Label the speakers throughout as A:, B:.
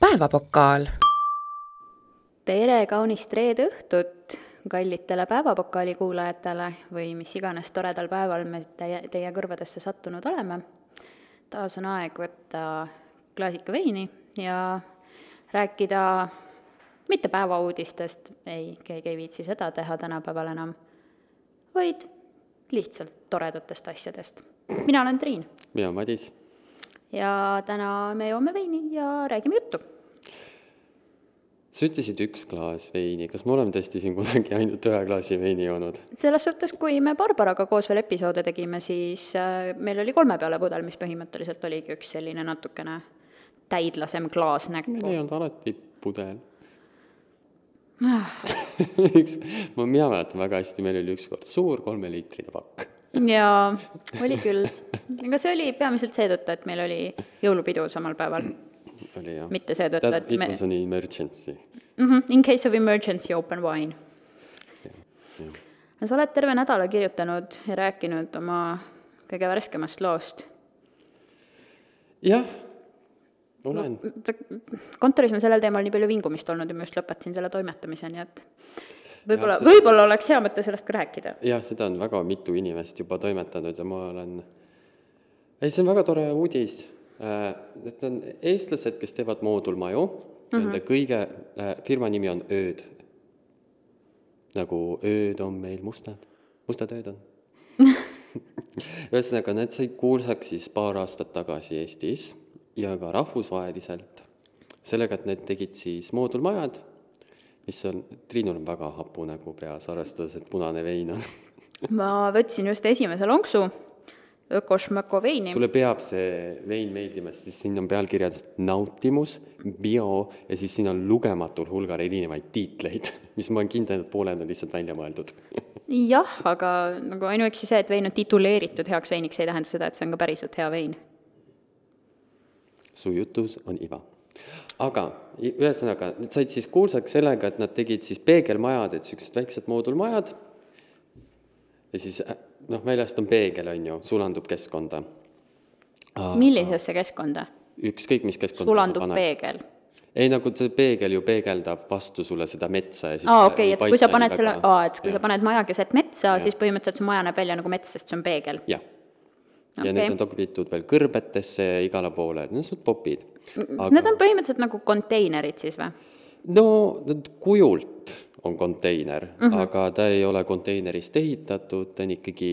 A: päevapokaal.
B: tere kaunist reede õhtut kallitele Päevapokaali kuulajatele või mis iganes toredal päeval me teie, teie kõrvadesse sattunud oleme. taas on aeg võtta klaasika veini ja rääkida mitte päevauudistest, ei, keegi ei viitsi seda teha tänapäeval enam, vaid lihtsalt toredatest asjadest. mina olen Triin
C: mina Madis.
B: ja täna me joome veini ja räägime juttu
C: sa ütlesid üks klaas veini, kas me oleme tõesti siin kuidagi ainult ühe klaasi veini joonud?
B: selles suhtes, kui me Barbaraga koos veel episoode tegime, siis äh, meil oli kolme peale pudel, mis põhimõtteliselt oligi üks selline natukene täidlasem klaas
C: meil
B: näkku
C: ei . olnud alati pudel
B: Ah,
C: üks , ma , mina mäletan väga hästi , meil oli ükskord suur kolmeliitrine pakk .
B: jaa , oli küll . aga see oli peamiselt seetõttu , et meil oli jõulupidu samal päeval .
C: oli jah .
B: Mitte seetõttu, et me-
C: me .
B: Mhm,
C: it was an emergency .
B: In case of emergency open wine . no sa oled terve nädala kirjutanud ja rääkinud oma kõige värskemast loost
C: jah , olen no. .
B: Ta- kontoris on sellel teemal nii palju vingumist olnud ja ma just lõpetasin selle toimetamise , nii et võib-olla ,
C: seda-
B: võib-olla oleks hea mõte sellest ka rääkida .
C: jah , seda on väga mitu inimest juba toimetanud ja ma olen , ei , see on väga tore uudis . Need on eestlased , kes teevad moodulmaju mm , -hmm. nende kõige , firma nimi on Ööd . nagu ööd on meil mustad , mustad ööd on . ühesõnaga , need said kuulsaks siis paar aastat tagasi Eestis ja ka rahvusvaheliselt sellega , et need tegid siis moodulmajad , mis on , Triinul on väga hapu nägu peas , arvestades , et punane vein on
B: ma võtsin just esimese lonksu ökošmöko veini
C: sulle peab see vein meeldima , sest siin on pealkirjades nautimus , bio ja siis siin on lugematul hulgal erinevaid tiitleid , mis ma olen kindel , et pooled on lihtsalt välja mõeldud .
B: jah , aga nagu ainuüksi see , et vein on tituleeritud heaks veiniks , ei tähenda seda , et see on ka päriselt hea vein .
C: su jutus on iva . aga i- ühesõnaga , nad said siis kuulsaks sellega , et nad tegid siis peegelmajad , et niisugused väiksed moodulmajad ja siis äh, noh , väljast on peegel , on ju , sulandub keskkonda .
B: millisesse keskkonda
C: ükskõik , mis keskkonda sa
B: sulandub
C: paned.
B: peegel ?
C: ei , nagu see peegel ju peegeldab vastu sulle seda metsa ja siis
B: aa ,
C: see
B: okei ,
C: ei
B: et kui sa
C: paista
B: paned
C: nii
B: selle ,
C: väga-
B: aa , et kui
C: jah.
B: sa paned maja keset metsa ,
C: Jah.
B: siis põhimõtteliselt su maja näeb välja nagu mets , sest see on peegel .
C: jah . ja okay. need on topitud veel kõrbetesse ja igale poole , need on suht popid .
B: Aga... Need on põhimõtteliselt nagu konteinerid siis või ?
C: no nad kujult on konteiner mm , -hmm. aga ta ei ole konteinerist ehitatud , ta on ikkagi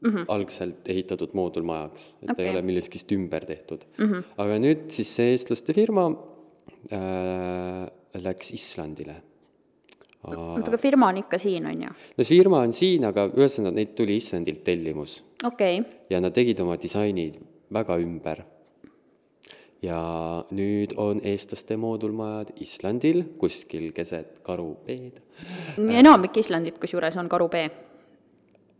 C: mm -hmm. algselt ehitatud moodulmajaks , et okay. ta
B: Okei.
C: ei ole millestki ümber tehtud mm . -hmm. aga nüüd siis see eestlaste firma äh, läks Islandile
B: oota , aga firma on ikka siin , on ju?
C: no see firma on siin , aga ühesõnaga neid tuli Islandilt tellimus
B: okei okay. ,
C: ja nad tegid oma disaini väga ümber . ja nüüd on eestlaste moodulmajad Islandil kuskil keset karupeed .
B: enamik Islandit kusjuures on karu B .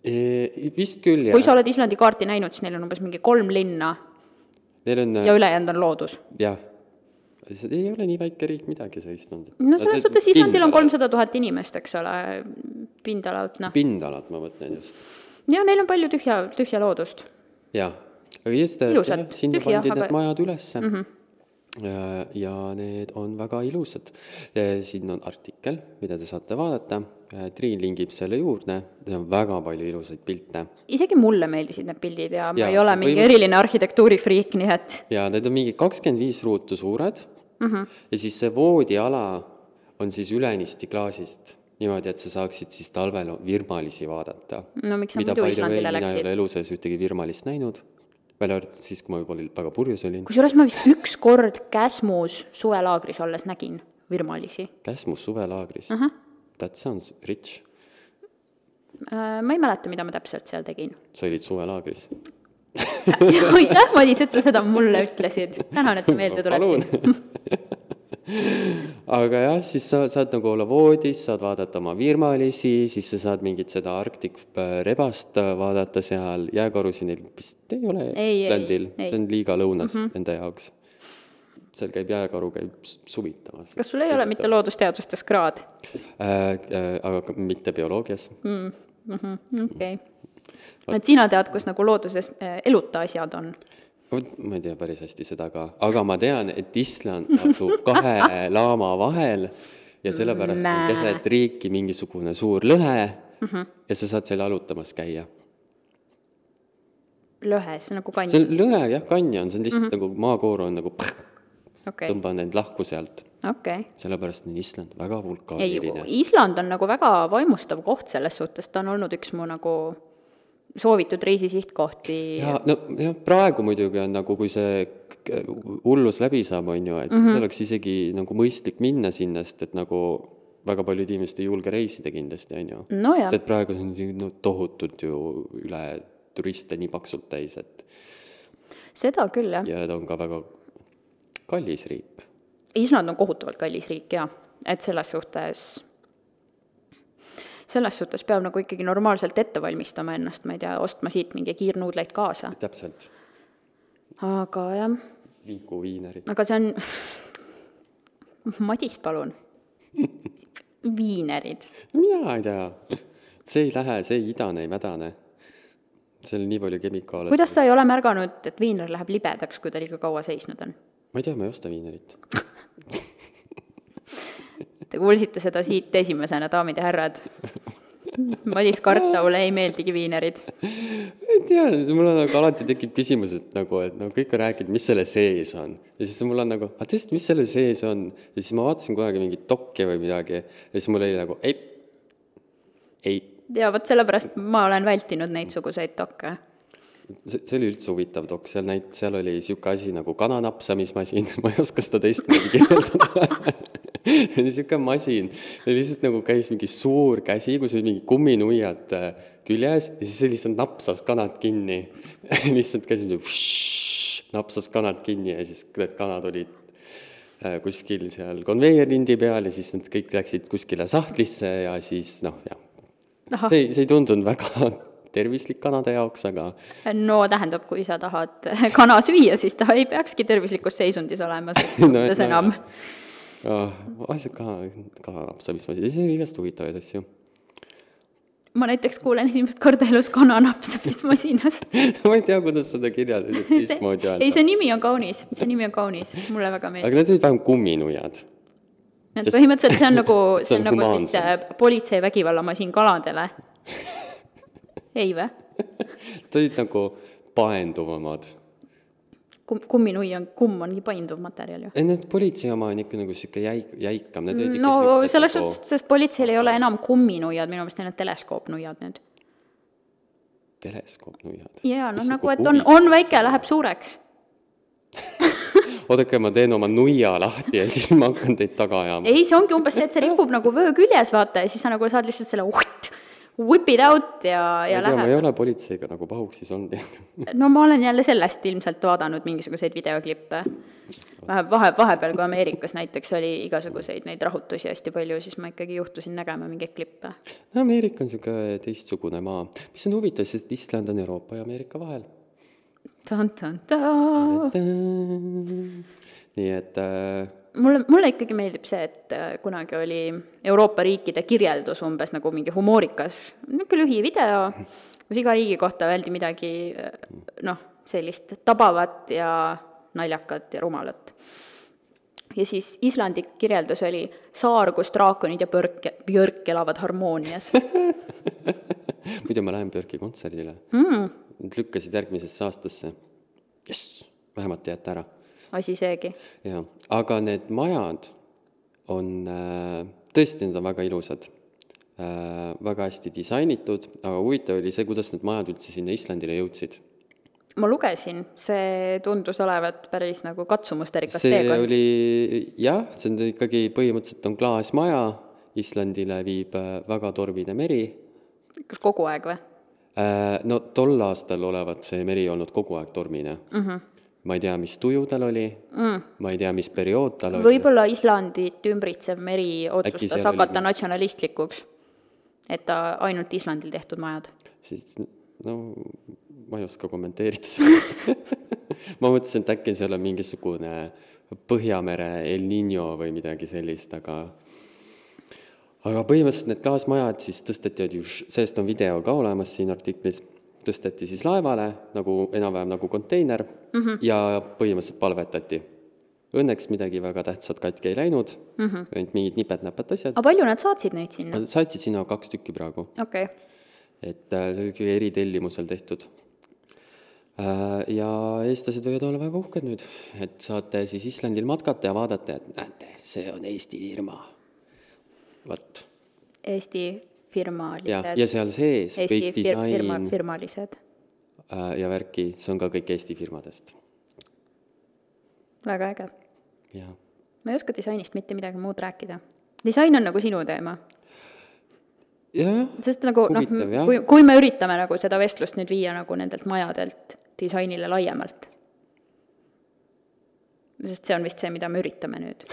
C: E, vist küll
B: kui
C: jah
B: sa , oled Islandi kaarti näinud , siis neil on umbes mingi kolm linna
C: neil on
B: ja ülejäänud on loodus .
C: jah , lihtsalt ei ole nii väike riik midagi , see Island .
B: no selles suhtes Islandil on . kolmsada tuhat inimest , eks ole , pindalalt , noh .
C: pindalat ma mõtlen just ,
B: ja neil on palju tühja , tühja loodust .
C: jah . aga just ,
B: Ilusat,
C: sinna
B: tühja,
C: pandi
B: aga-
C: need majad ülesse
B: Mhm.
C: mm . -hmm ja ja need on väga ilusad . siin on artikkel , mida te saate vaadata . Triin lingib selle juurde , seal on väga palju ilusaid pilte
B: isegi mulle meeldisid need pildid ja ma ja,
C: Jaa,
B: ei ole
C: see
B: mingi
C: põhimõtteliselt-
B: eriline arhitektuurifriik , nii et
C: ja need on mingi kakskümmend viis ruutu suured mm .
B: Mhm.
C: -hmm. ja siis see voodiala on siis ülenisti klaasist , niimoodi , et sa saaksid siis talvel virmalisi vaadata .
B: No miks sa muidu Islandile
C: mina ei
B: läksid?
C: ole elu sees ühtegi virmalist näinud , välja arvatud siis , kui ma juba olin väga purjus olin .
B: kusjuures ma vist ükskord Käsmus suvelaagris olles nägin virmalisi .
C: Käsmus suvelaagris uh .
B: Ahah.
C: -huh. That sounds rich .
B: Äh, ma ei mäleta , mida ma täpselt seal tegin
C: sa olid suvelaagris .
B: aitäh , Madis , et sa seda mulle ütlesid . tänan , et sa meelde tuletasid .
C: aga jah , siis sa saad nagu olla voodis , saad vaadata oma virmalisi , siis sa saad mingit seda Arctic äh, rebast äh, vaadata seal , jääkarusi neil vist ei ole
B: Ei, ei,
C: Islandil ,
B: ei. Mhm.
C: see on liiga lõunas mm -hmm. nende jaoks . seal käib jääkaru , käib s- suvitamas
B: kas sul ei ole mitte loodusteadustes kraad ?
C: äh, , äh, aga ka- mitte bioloogias mm. .
B: Mhm, okei . et sina tead , kus nagu looduses äh, eluta eh, asjad on .
C: vot ma ei tea päris hästi seda ka , aga ma tean , et Island asub kahe laama vahel ja sellepärast on
B: Näed.
C: keset riiki mingisugune suur lõhe mm
B: Mhm.
C: -hmm. ja sa saad seal jalutamas käia .
B: lõhe , see on nagu
C: see
B: kandi .
C: on lõhe jah , kanjon , see on lihtsalt mm -hmm. nagu maakoor on nagu põh,
B: Mhm. okei ,
C: tõmban end lahku sealt ,
B: okei .
C: sellepärast on Island väga
B: ei
C: vulkaaniline .,
B: Island on nagu väga vaimustav koht selles suhtes , ta on olnud üks mu nagu soovitud reisisihtkohti .
C: ja no jah , praegu muidugi on nagu , kui see k- hullus läbi saab , on ju , et
B: Mhm.
C: mm -hmm. oleks isegi nagu mõistlik minna sinna , sest et nagu väga paljud inimesed ei julge reisida kindlasti , on ju .
B: nojah
C: sest , et praegu on siin, no, tohutult ju üle turiste nii paksult täis , et
B: seda küll jah .
C: ja ta on ka väga kallis riik .
B: Island on kohutavalt kallis riik jaa , et selles suhtes , selles suhtes peab nagu ikkagi normaalselt ette valmistama ennast , ma ei tea , ostma siit mingeid kiirnuudleid kaasa ,
C: täpselt ,
B: aga jah ,
C: Viku viinerid .
B: aga see on , Madis , palun , viinerid ,
C: mina ei tea , see ei lähe , see ei idane , ei mädane . seal on nii palju kemikaale .
B: kuidas sa ei ole märganud , et viiner läheb libedaks , kui ta liiga kaua seisnud on ?
C: ma ei tea , ma ei osta viinerit .
B: Te kuulsite seda siit esimesena , daamid ja härrad . Madis Kartaule ei meeldigi viinerid .
C: ei tea , mul on nagu alati tekib küsimus , et nagu , et no kõik on rääkinud , mis selle sees on . ja siis mul on nagu , aga tõesti , mis selle sees on ? ja siis ma vaatasin kunagi mingit dokki või midagi ja siis mul oli nagu ei , ei .
B: ja vot sellepärast ma olen vältinud neidsuguseid dokke
C: see , see oli üldse huvitav dok , seal näit- , seal oli niisugune asi nagu kananapsamismasin , ma ei oska seda teistmoodi kirjeldada . niisugune masin , lihtsalt nagu käis mingi suur käsi , kus olid mingi kumminuiad äh, küljes ja siis see lihtsalt napsas kanad kinni . lihtsalt käis niimoodi , napsas kanad kinni ja siis need kanad olid äh, kuskil seal konveierlindi peal ja siis nad kõik läksid kuskile sahtlisse ja siis noh , jah .
B: Ahah.
C: see , see ei tundunud väga tervislik kanade jaoks , aga
B: no tähendab , kui sa tahad kana süüa , siis ta ei peakski tervislikus seisundis olema selles
C: No,
B: suhtes
C: no,
B: enam .
C: Ah, asjad ka , ka napsamismasin , siis oli igast huvitavaid asju .
B: ma näiteks kuulen esimest korda elus kana napsamismasinast .
C: ma ei tea , kuidas seda kirjeldada , teistmoodi
B: ei ,
C: öelda .
B: see nimi on kaunis , see nimi on kaunis , mulle väga meeldib .
C: aga need olid vähem kumminuiad .
B: et
C: sest-
B: põhimõtteliselt see on nagu ,
C: See
B: see on
C: on
B: nagu siis
C: humaansem.
B: see politsei vägivallamasin kaladele . ei või ?
C: Nad olid nagu paenduvamad .
B: kumm , kumminui on , kumm on nii painduv materjal ju .
C: ei , need politsei oma on ikka nagu sihuke jäik , jäikam , need olid ikka
B: no
C: siuksed
B: selles
C: nagu-
B: suhtes , sest politseil ei ole enam kumminuiad , minu meelest neil on teleskoopnuiad nüüd .
C: teleskoopnuiad .
B: jaa , noh nagu , et on , on väike , läheb suureks
C: oodake , ma teen oma nuia lahti ja siis ma hakkan teid taga ajama .
B: ei , see ongi umbes see , et see ripub nagu vöö küljes , vaata , ja siis sa nagu saad lihtsalt selle vuht, whip it out ja , ja
C: ma ei tea , ma ei
B: läheb .
C: ole politseiga nagu pahuksis olnud , nii et
B: no ma olen jälle sellest ilmselt vaadanud mingisuguseid videoklippe . vahe , vahe , vahepeal , kui Ameerikas näiteks oli igasuguseid neid rahutusi hästi palju , siis ma ikkagi juhtusin nägema mingeid klippe .
C: no Ameerika on niisugune teistsugune maa , mis on huvitav , sest Island on Euroopa ja Ameerika vahel .
B: tan-tan-taa .
C: nii et äh,
B: mulle , mulle ikkagi meeldib see , et äh, kunagi oli Euroopa riikide kirjeldus umbes nagu mingi humoorikas , niisugune lühivideo , kus iga riigi kohta öeldi midagi äh, noh , sellist tabavat ja naljakat ja rumalat . ja siis Islandi kirjeldus oli saar , kus draakonid ja Björk , Björk elavad harmoonias .
C: muidu ma lähen Björki kontserdile
B: Mm,
C: Nad lükkasid järgmisesse aastasse . jess , vähemalt ei jäta ära .
B: asi seegi .
C: jaa , aga need majad on äh, , tõesti , need on väga ilusad äh, . väga hästi disainitud , aga huvitav oli see , kuidas need majad üldse sinna Islandile jõudsid .
B: ma lugesin , see tundus olevat päris nagu katsumustarikas
C: see
B: teekond .
C: oli jah , see on ikkagi põhimõtteliselt on klaasmaja , Islandile viib äh, väga tormine meri
B: kas kogu aeg või ?
C: Äh, no tol aastal olevat see meri olnud kogu aeg tormine mm . -hmm. ma ei tea , mis tuju tal oli mm. , ma ei tea , mis periood tal oli .
B: võib-olla Islandit ümbritsev meri otsustas
C: seal
B: hakata
C: oli-
B: natsionalistlikuks , et ta ainult Islandil tehtud majad .
C: siis no ma ei oska kommenteerida seda . ma mõtlesin , et äkki seal on mingisugune Põhjamere El Niño või midagi sellist , aga aga põhimõtteliselt need klaasmajad siis tõsteti , seest on video ka olemas siin artiklis , tõsteti siis laevale nagu enam-vähem nagu konteiner mm -hmm. ja põhimõtteliselt palvetati. Õnneks midagi väga tähtsat katki ei läinud mm, -hmm. ainult mingid nipet-näpet asjad
B: aga . palju nad saatsid neid sinna?
C: saatsid sinna kaks tükki praegu,
B: okei okay. ,
C: et äh, see oli ikka eritellimusel tehtud äh, . ja eestlased võivad olla väga uhked nüüd , et saate siis Islandil matkata ja vaadata , et näete , see on Eesti firma . vot
B: Eesti
C: ja ,
B: firmalised .
C: ja seal sees
B: Eesti
C: kõik
B: fir- firma ,
C: disain
B: firmalised .
C: äh, ja värki , see on ka kõik Eesti firmadest .
B: väga äge .
C: jah .
B: ma ei oska disainist mitte midagi muud rääkida . disain on nagu sinu teema ,
C: jah ,
B: sest nagu noh
C: Huvitav, jah. ,
B: kui , kui me üritame nagu seda vestlust nüüd viia nagu nendelt majadelt disainile laiemalt , sest see on vist see , mida me üritame nüüd .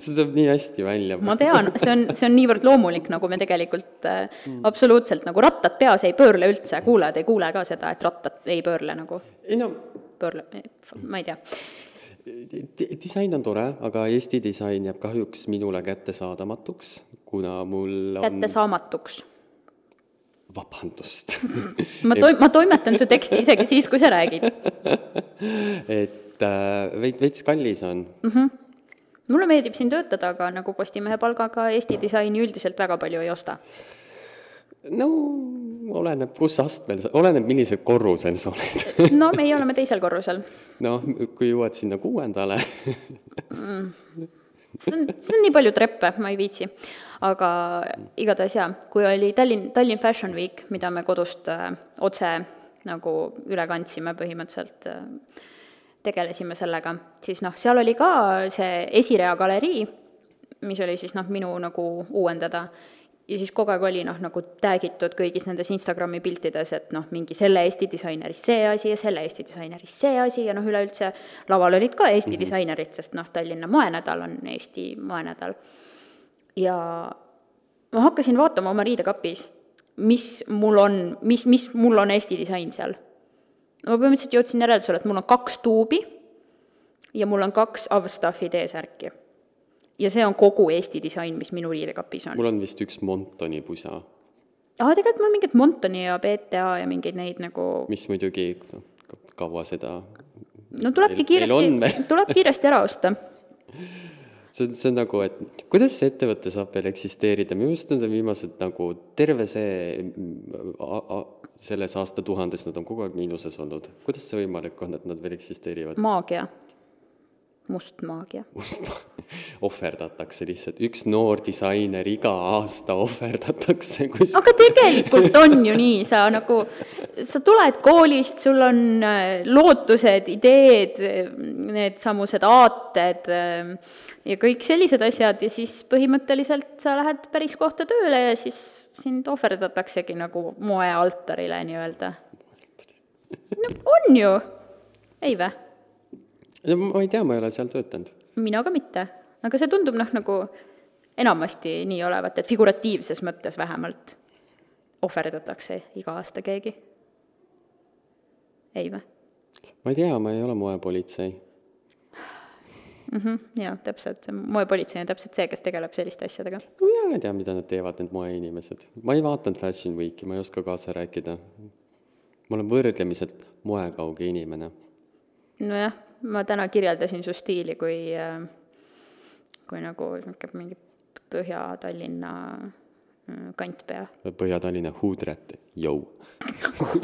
C: see tuleb nii hästi välja .
B: ma tean , see on , see on niivõrd loomulik , nagu me tegelikult äh, absoluutselt nagu rattad peas ei pöörle üldse , kuulajad ei kuule ka seda , et rattad ei pöörle nagu ,
C: ei no ,
B: pöörle , ma ei tea .
C: disain on tore , aga Eesti disain jääb kahjuks minule kättesaadamatuks , kuna mul on ,
B: kättesaamatuks
C: vabandust ,
B: ma toim- , ma toimetan su teksti isegi siis , kui sa räägid .
C: et äh, veits , veits kallis on .
B: mulle meeldib siin töötada , aga nagu Postimehe palgaga Eesti disaini üldiselt väga palju ei osta .
C: no oleneb , kus astmel sa , oleneb , millisel korrusel sa oled .
B: no meie oleme teisel korrusel .
C: noh , kui jõuad sinna kuuendale ,
B: see on , see on nii palju treppe , ma ei viitsi . aga igatahes jaa , kui oli Tallinn , Tallinn Fashion Week , mida me kodust äh, otse nagu üle kandsime põhimõtteliselt äh, , tegelesime sellega , siis noh , seal oli ka see esirea galerii , mis oli siis noh , minu nagu uuendada , ja siis kogu aeg oli noh , nagu tag itud kõigis nendes Instagrami piltides , et noh , mingi selle Eesti disaineri see asi ja selle Eesti disaineri see asi ja noh , üleüldse laval olid ka Eesti mm -hmm. disainerid , sest noh , Tallinna moenädal on Eesti moenädal . ja ma hakkasin vaatama oma riidekapis , mis mul on , mis , mis mul on Eesti disain seal ma põhimõtteliselt jõudsin järeldusele , et mul on kaks tuubi ja mul on kaks Avstaffi T-särki . ja see on kogu Eesti disain , mis minu riidekapis on .
C: mul on vist üks Montoni pusa
B: aa , tegelikult mul mingit Montoni ja BTA ja mingeid neid nagu
C: mis muidugi noh , kaua seda ,
B: no tulebki
C: Meil- meil on
B: kiiresti
C: veel. ,
B: tuleb kiiresti ära osta .
C: see on , see on nagu , et kuidas see ettevõte saab veel eksisteerida , minu arust on see viimased nagu terve see mm, a- a- selles aastatuhandes nad on kogu aeg miinuses olnud . kuidas see võimalik on , et nad veel eksisteerivad ?
B: maagia , must maagia .
C: must ohverdatakse lihtsalt , üks noor disainer iga aasta ohverdatakse kus- ,
B: aga tegelikult on ju nii , sa nagu , sa tuled koolist , sul on äh, lootused , ideed , needsamused aated äh, ja kõik sellised asjad ja siis põhimõtteliselt sa lähed päris kohta tööle ja siis sind ohverdataksegi nagu moealtarile nii-öelda . no on ju , ei vä ?
C: ma ei tea , ma ei ole seal töötanud .
B: mina ka mitte , aga see tundub noh , nagu enamasti nii olevat , et figuratiivses mõttes vähemalt ohverdatakse iga aasta keegi . ei või ?
C: ma ei tea , ma ei ole moepolitsei .
B: jaa , täpselt , see moepolitsei on täpselt see , kes tegeleb selliste asjadega .
C: no mina ei tea , mida nad teevad , need moeinimesed . ma ei vaadanud Fashion Weeki , ma ei oska kaasa rääkida . ma olen võrdlemiselt moekauge inimene .
B: nojah , ma täna kirjeldasin su stiili kui , kui nagu niisugune mingi Põhja-Tallinna mm, kantpea .
C: Põhja-Tallinna huudret , jõu .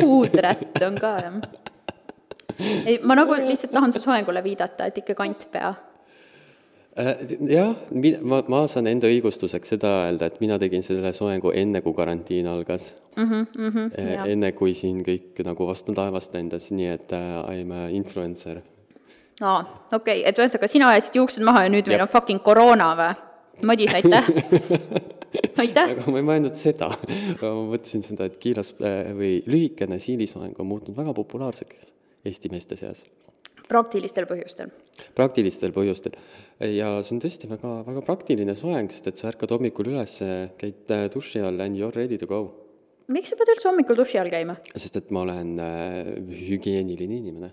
B: huudrätt on ka , jah . ei , ma nagu lihtsalt tahan su soengule viidata , et ikka kantpea
C: Äh, jah , ma , ma saan enda õigustuseks seda öelda , et mina tegin selle soengu enne , kui karantiin algas mm . -hmm, mm
B: jah.
C: -hmm, enne , kui siin kõik nagu vastu taevast lendas , nii et äh, I m a influencer .
B: aa , okei okay. , et ühesõnaga sina ajasid juuksed maha ja nüüd meil
C: Jep.
B: on fucking koroona või ? Madis , aitäh . aitäh ,
C: aga ma ei mõelnud seda , ma mõtlesin seda , et kiiras äh, või lühikene siilisoeng on muutunud väga populaarseks Eesti meeste seas
B: praktilistel põhjustel .
C: praktilistel põhjustel . ja see on tõesti väga , väga praktiline soeng , sest et sa ärkad hommikul üles , käid äh, duši all and you are ready to go .
B: miks sa pead üldse hommikul duši all käima ?
C: sest et ma olen äh, hügieeniline inimene .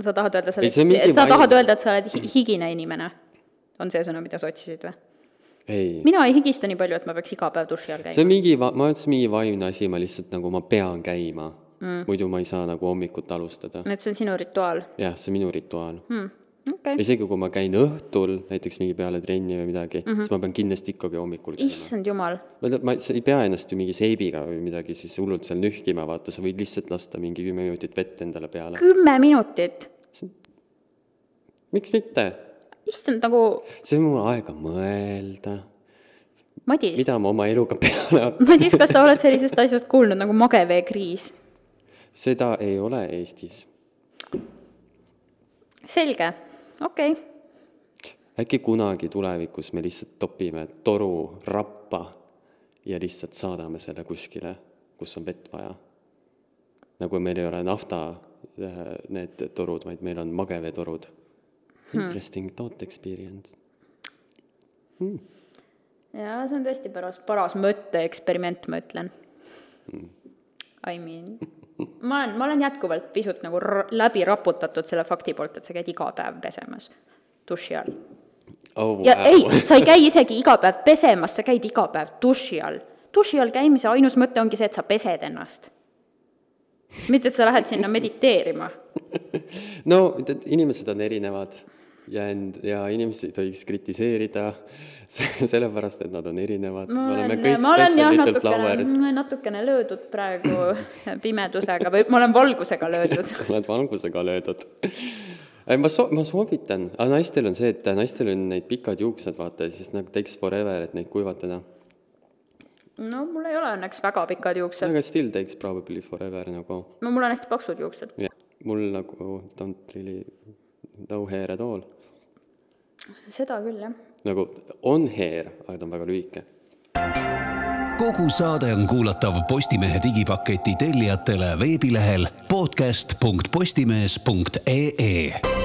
B: sa tahad öelda , sa
C: Ei, see on mingi
B: oled , sa
C: vaim.
B: tahad öelda , et sa oled hi- higine inimene ? on see sõna , mida sa otsisid või ?
C: ei ,
B: mina ei higista nii palju , et ma peaks iga päev duši all
C: see
B: käima .
C: on mingi , ma arvan , et see on mingi vaimne asi , ma lihtsalt nagu , ma pean käima mm. . muidu ma ei saa nagu hommikut alustada .
B: et see on sinu rituaal
C: jah , see on minu rituaal mm. .
B: hmm. . okei okay. ,
C: isegi kui ma käin õhtul näiteks mingi peale trenni või midagi mm , -hmm. siis ma pean kindlasti ikkagi hommikul käima .
B: issand jumal ,
C: ma tean , ma sa ei pea ennast ju mingi seebiga või midagi siis hullult seal nühkima , vaata , sa võid lihtsalt lasta mingi kümme minutit vett endale peale .
B: kümme minutit ,
C: miks mitte ?
B: issand nagu
C: see on mul aega mõelda ,
B: Madis ,
C: mida ma oma eluga peale hakkan .
B: Madis , kas sa oled sellisest asjast kuulnud nagu mageveekriis ?
C: seda ei ole Eestis .
B: selge , okei okay. ,
C: äkki kunagi tulevikus me lihtsalt topime toru rappa ja lihtsalt saadame selle kuskile , kus on vett vaja . nagu meil ei ole nafta äh, need torud , vaid meil on mageveetorud .
B: Hmm.
C: Interesting thought experience .
B: jaa , see on tõesti paras , paras mõtteeksperiment , ma ütlen .
C: Mm.
B: I mean , ma olen , ma olen jätkuvalt pisut nagu r- läbi raputatud selle fakti poolt , et sa käid iga päev pesemas duši all .
C: oh,
B: ja
C: wow.
B: ei , sa ei käi isegi iga päev pesemas , sa käid iga päev duši all . duši all käimise ainus mõte ongi see , et sa pesed ennast . mitte , et sa lähed sinna mediteerima .
C: no tead , inimesed on erinevad ja end- , ja inimesi ei tohiks kritiseerida se- sellepärast , et nad on erinevad .
B: ma
C: me oleme
B: olen ,
C: kõik
B: ma olen jah
C: special little
B: natukene
C: flowers .,
B: natukene löödud praegu pimedusega või ma olen valgusega löödud .
C: oled valgusega löödud . ma soo- , ma soovitan , aga naistel on see , et naistel on need pikad juuksed , vaata , ja siis nad takes forever , et neid noh. kuivatada .
B: no mul ei ole õnneks väga pikad juuksed ,
C: aga still takes probably forever nagu
B: no mul on hästi paksud juuksed .
C: yeah. . mul nagu don't really no hair at all .
B: seda küll , jah .
C: nagu on hair , aga ta on väga lühike .
A: kogu saade on kuulatav Postimehe digipaketi tellijatele veebilehel podcast.postimees.ee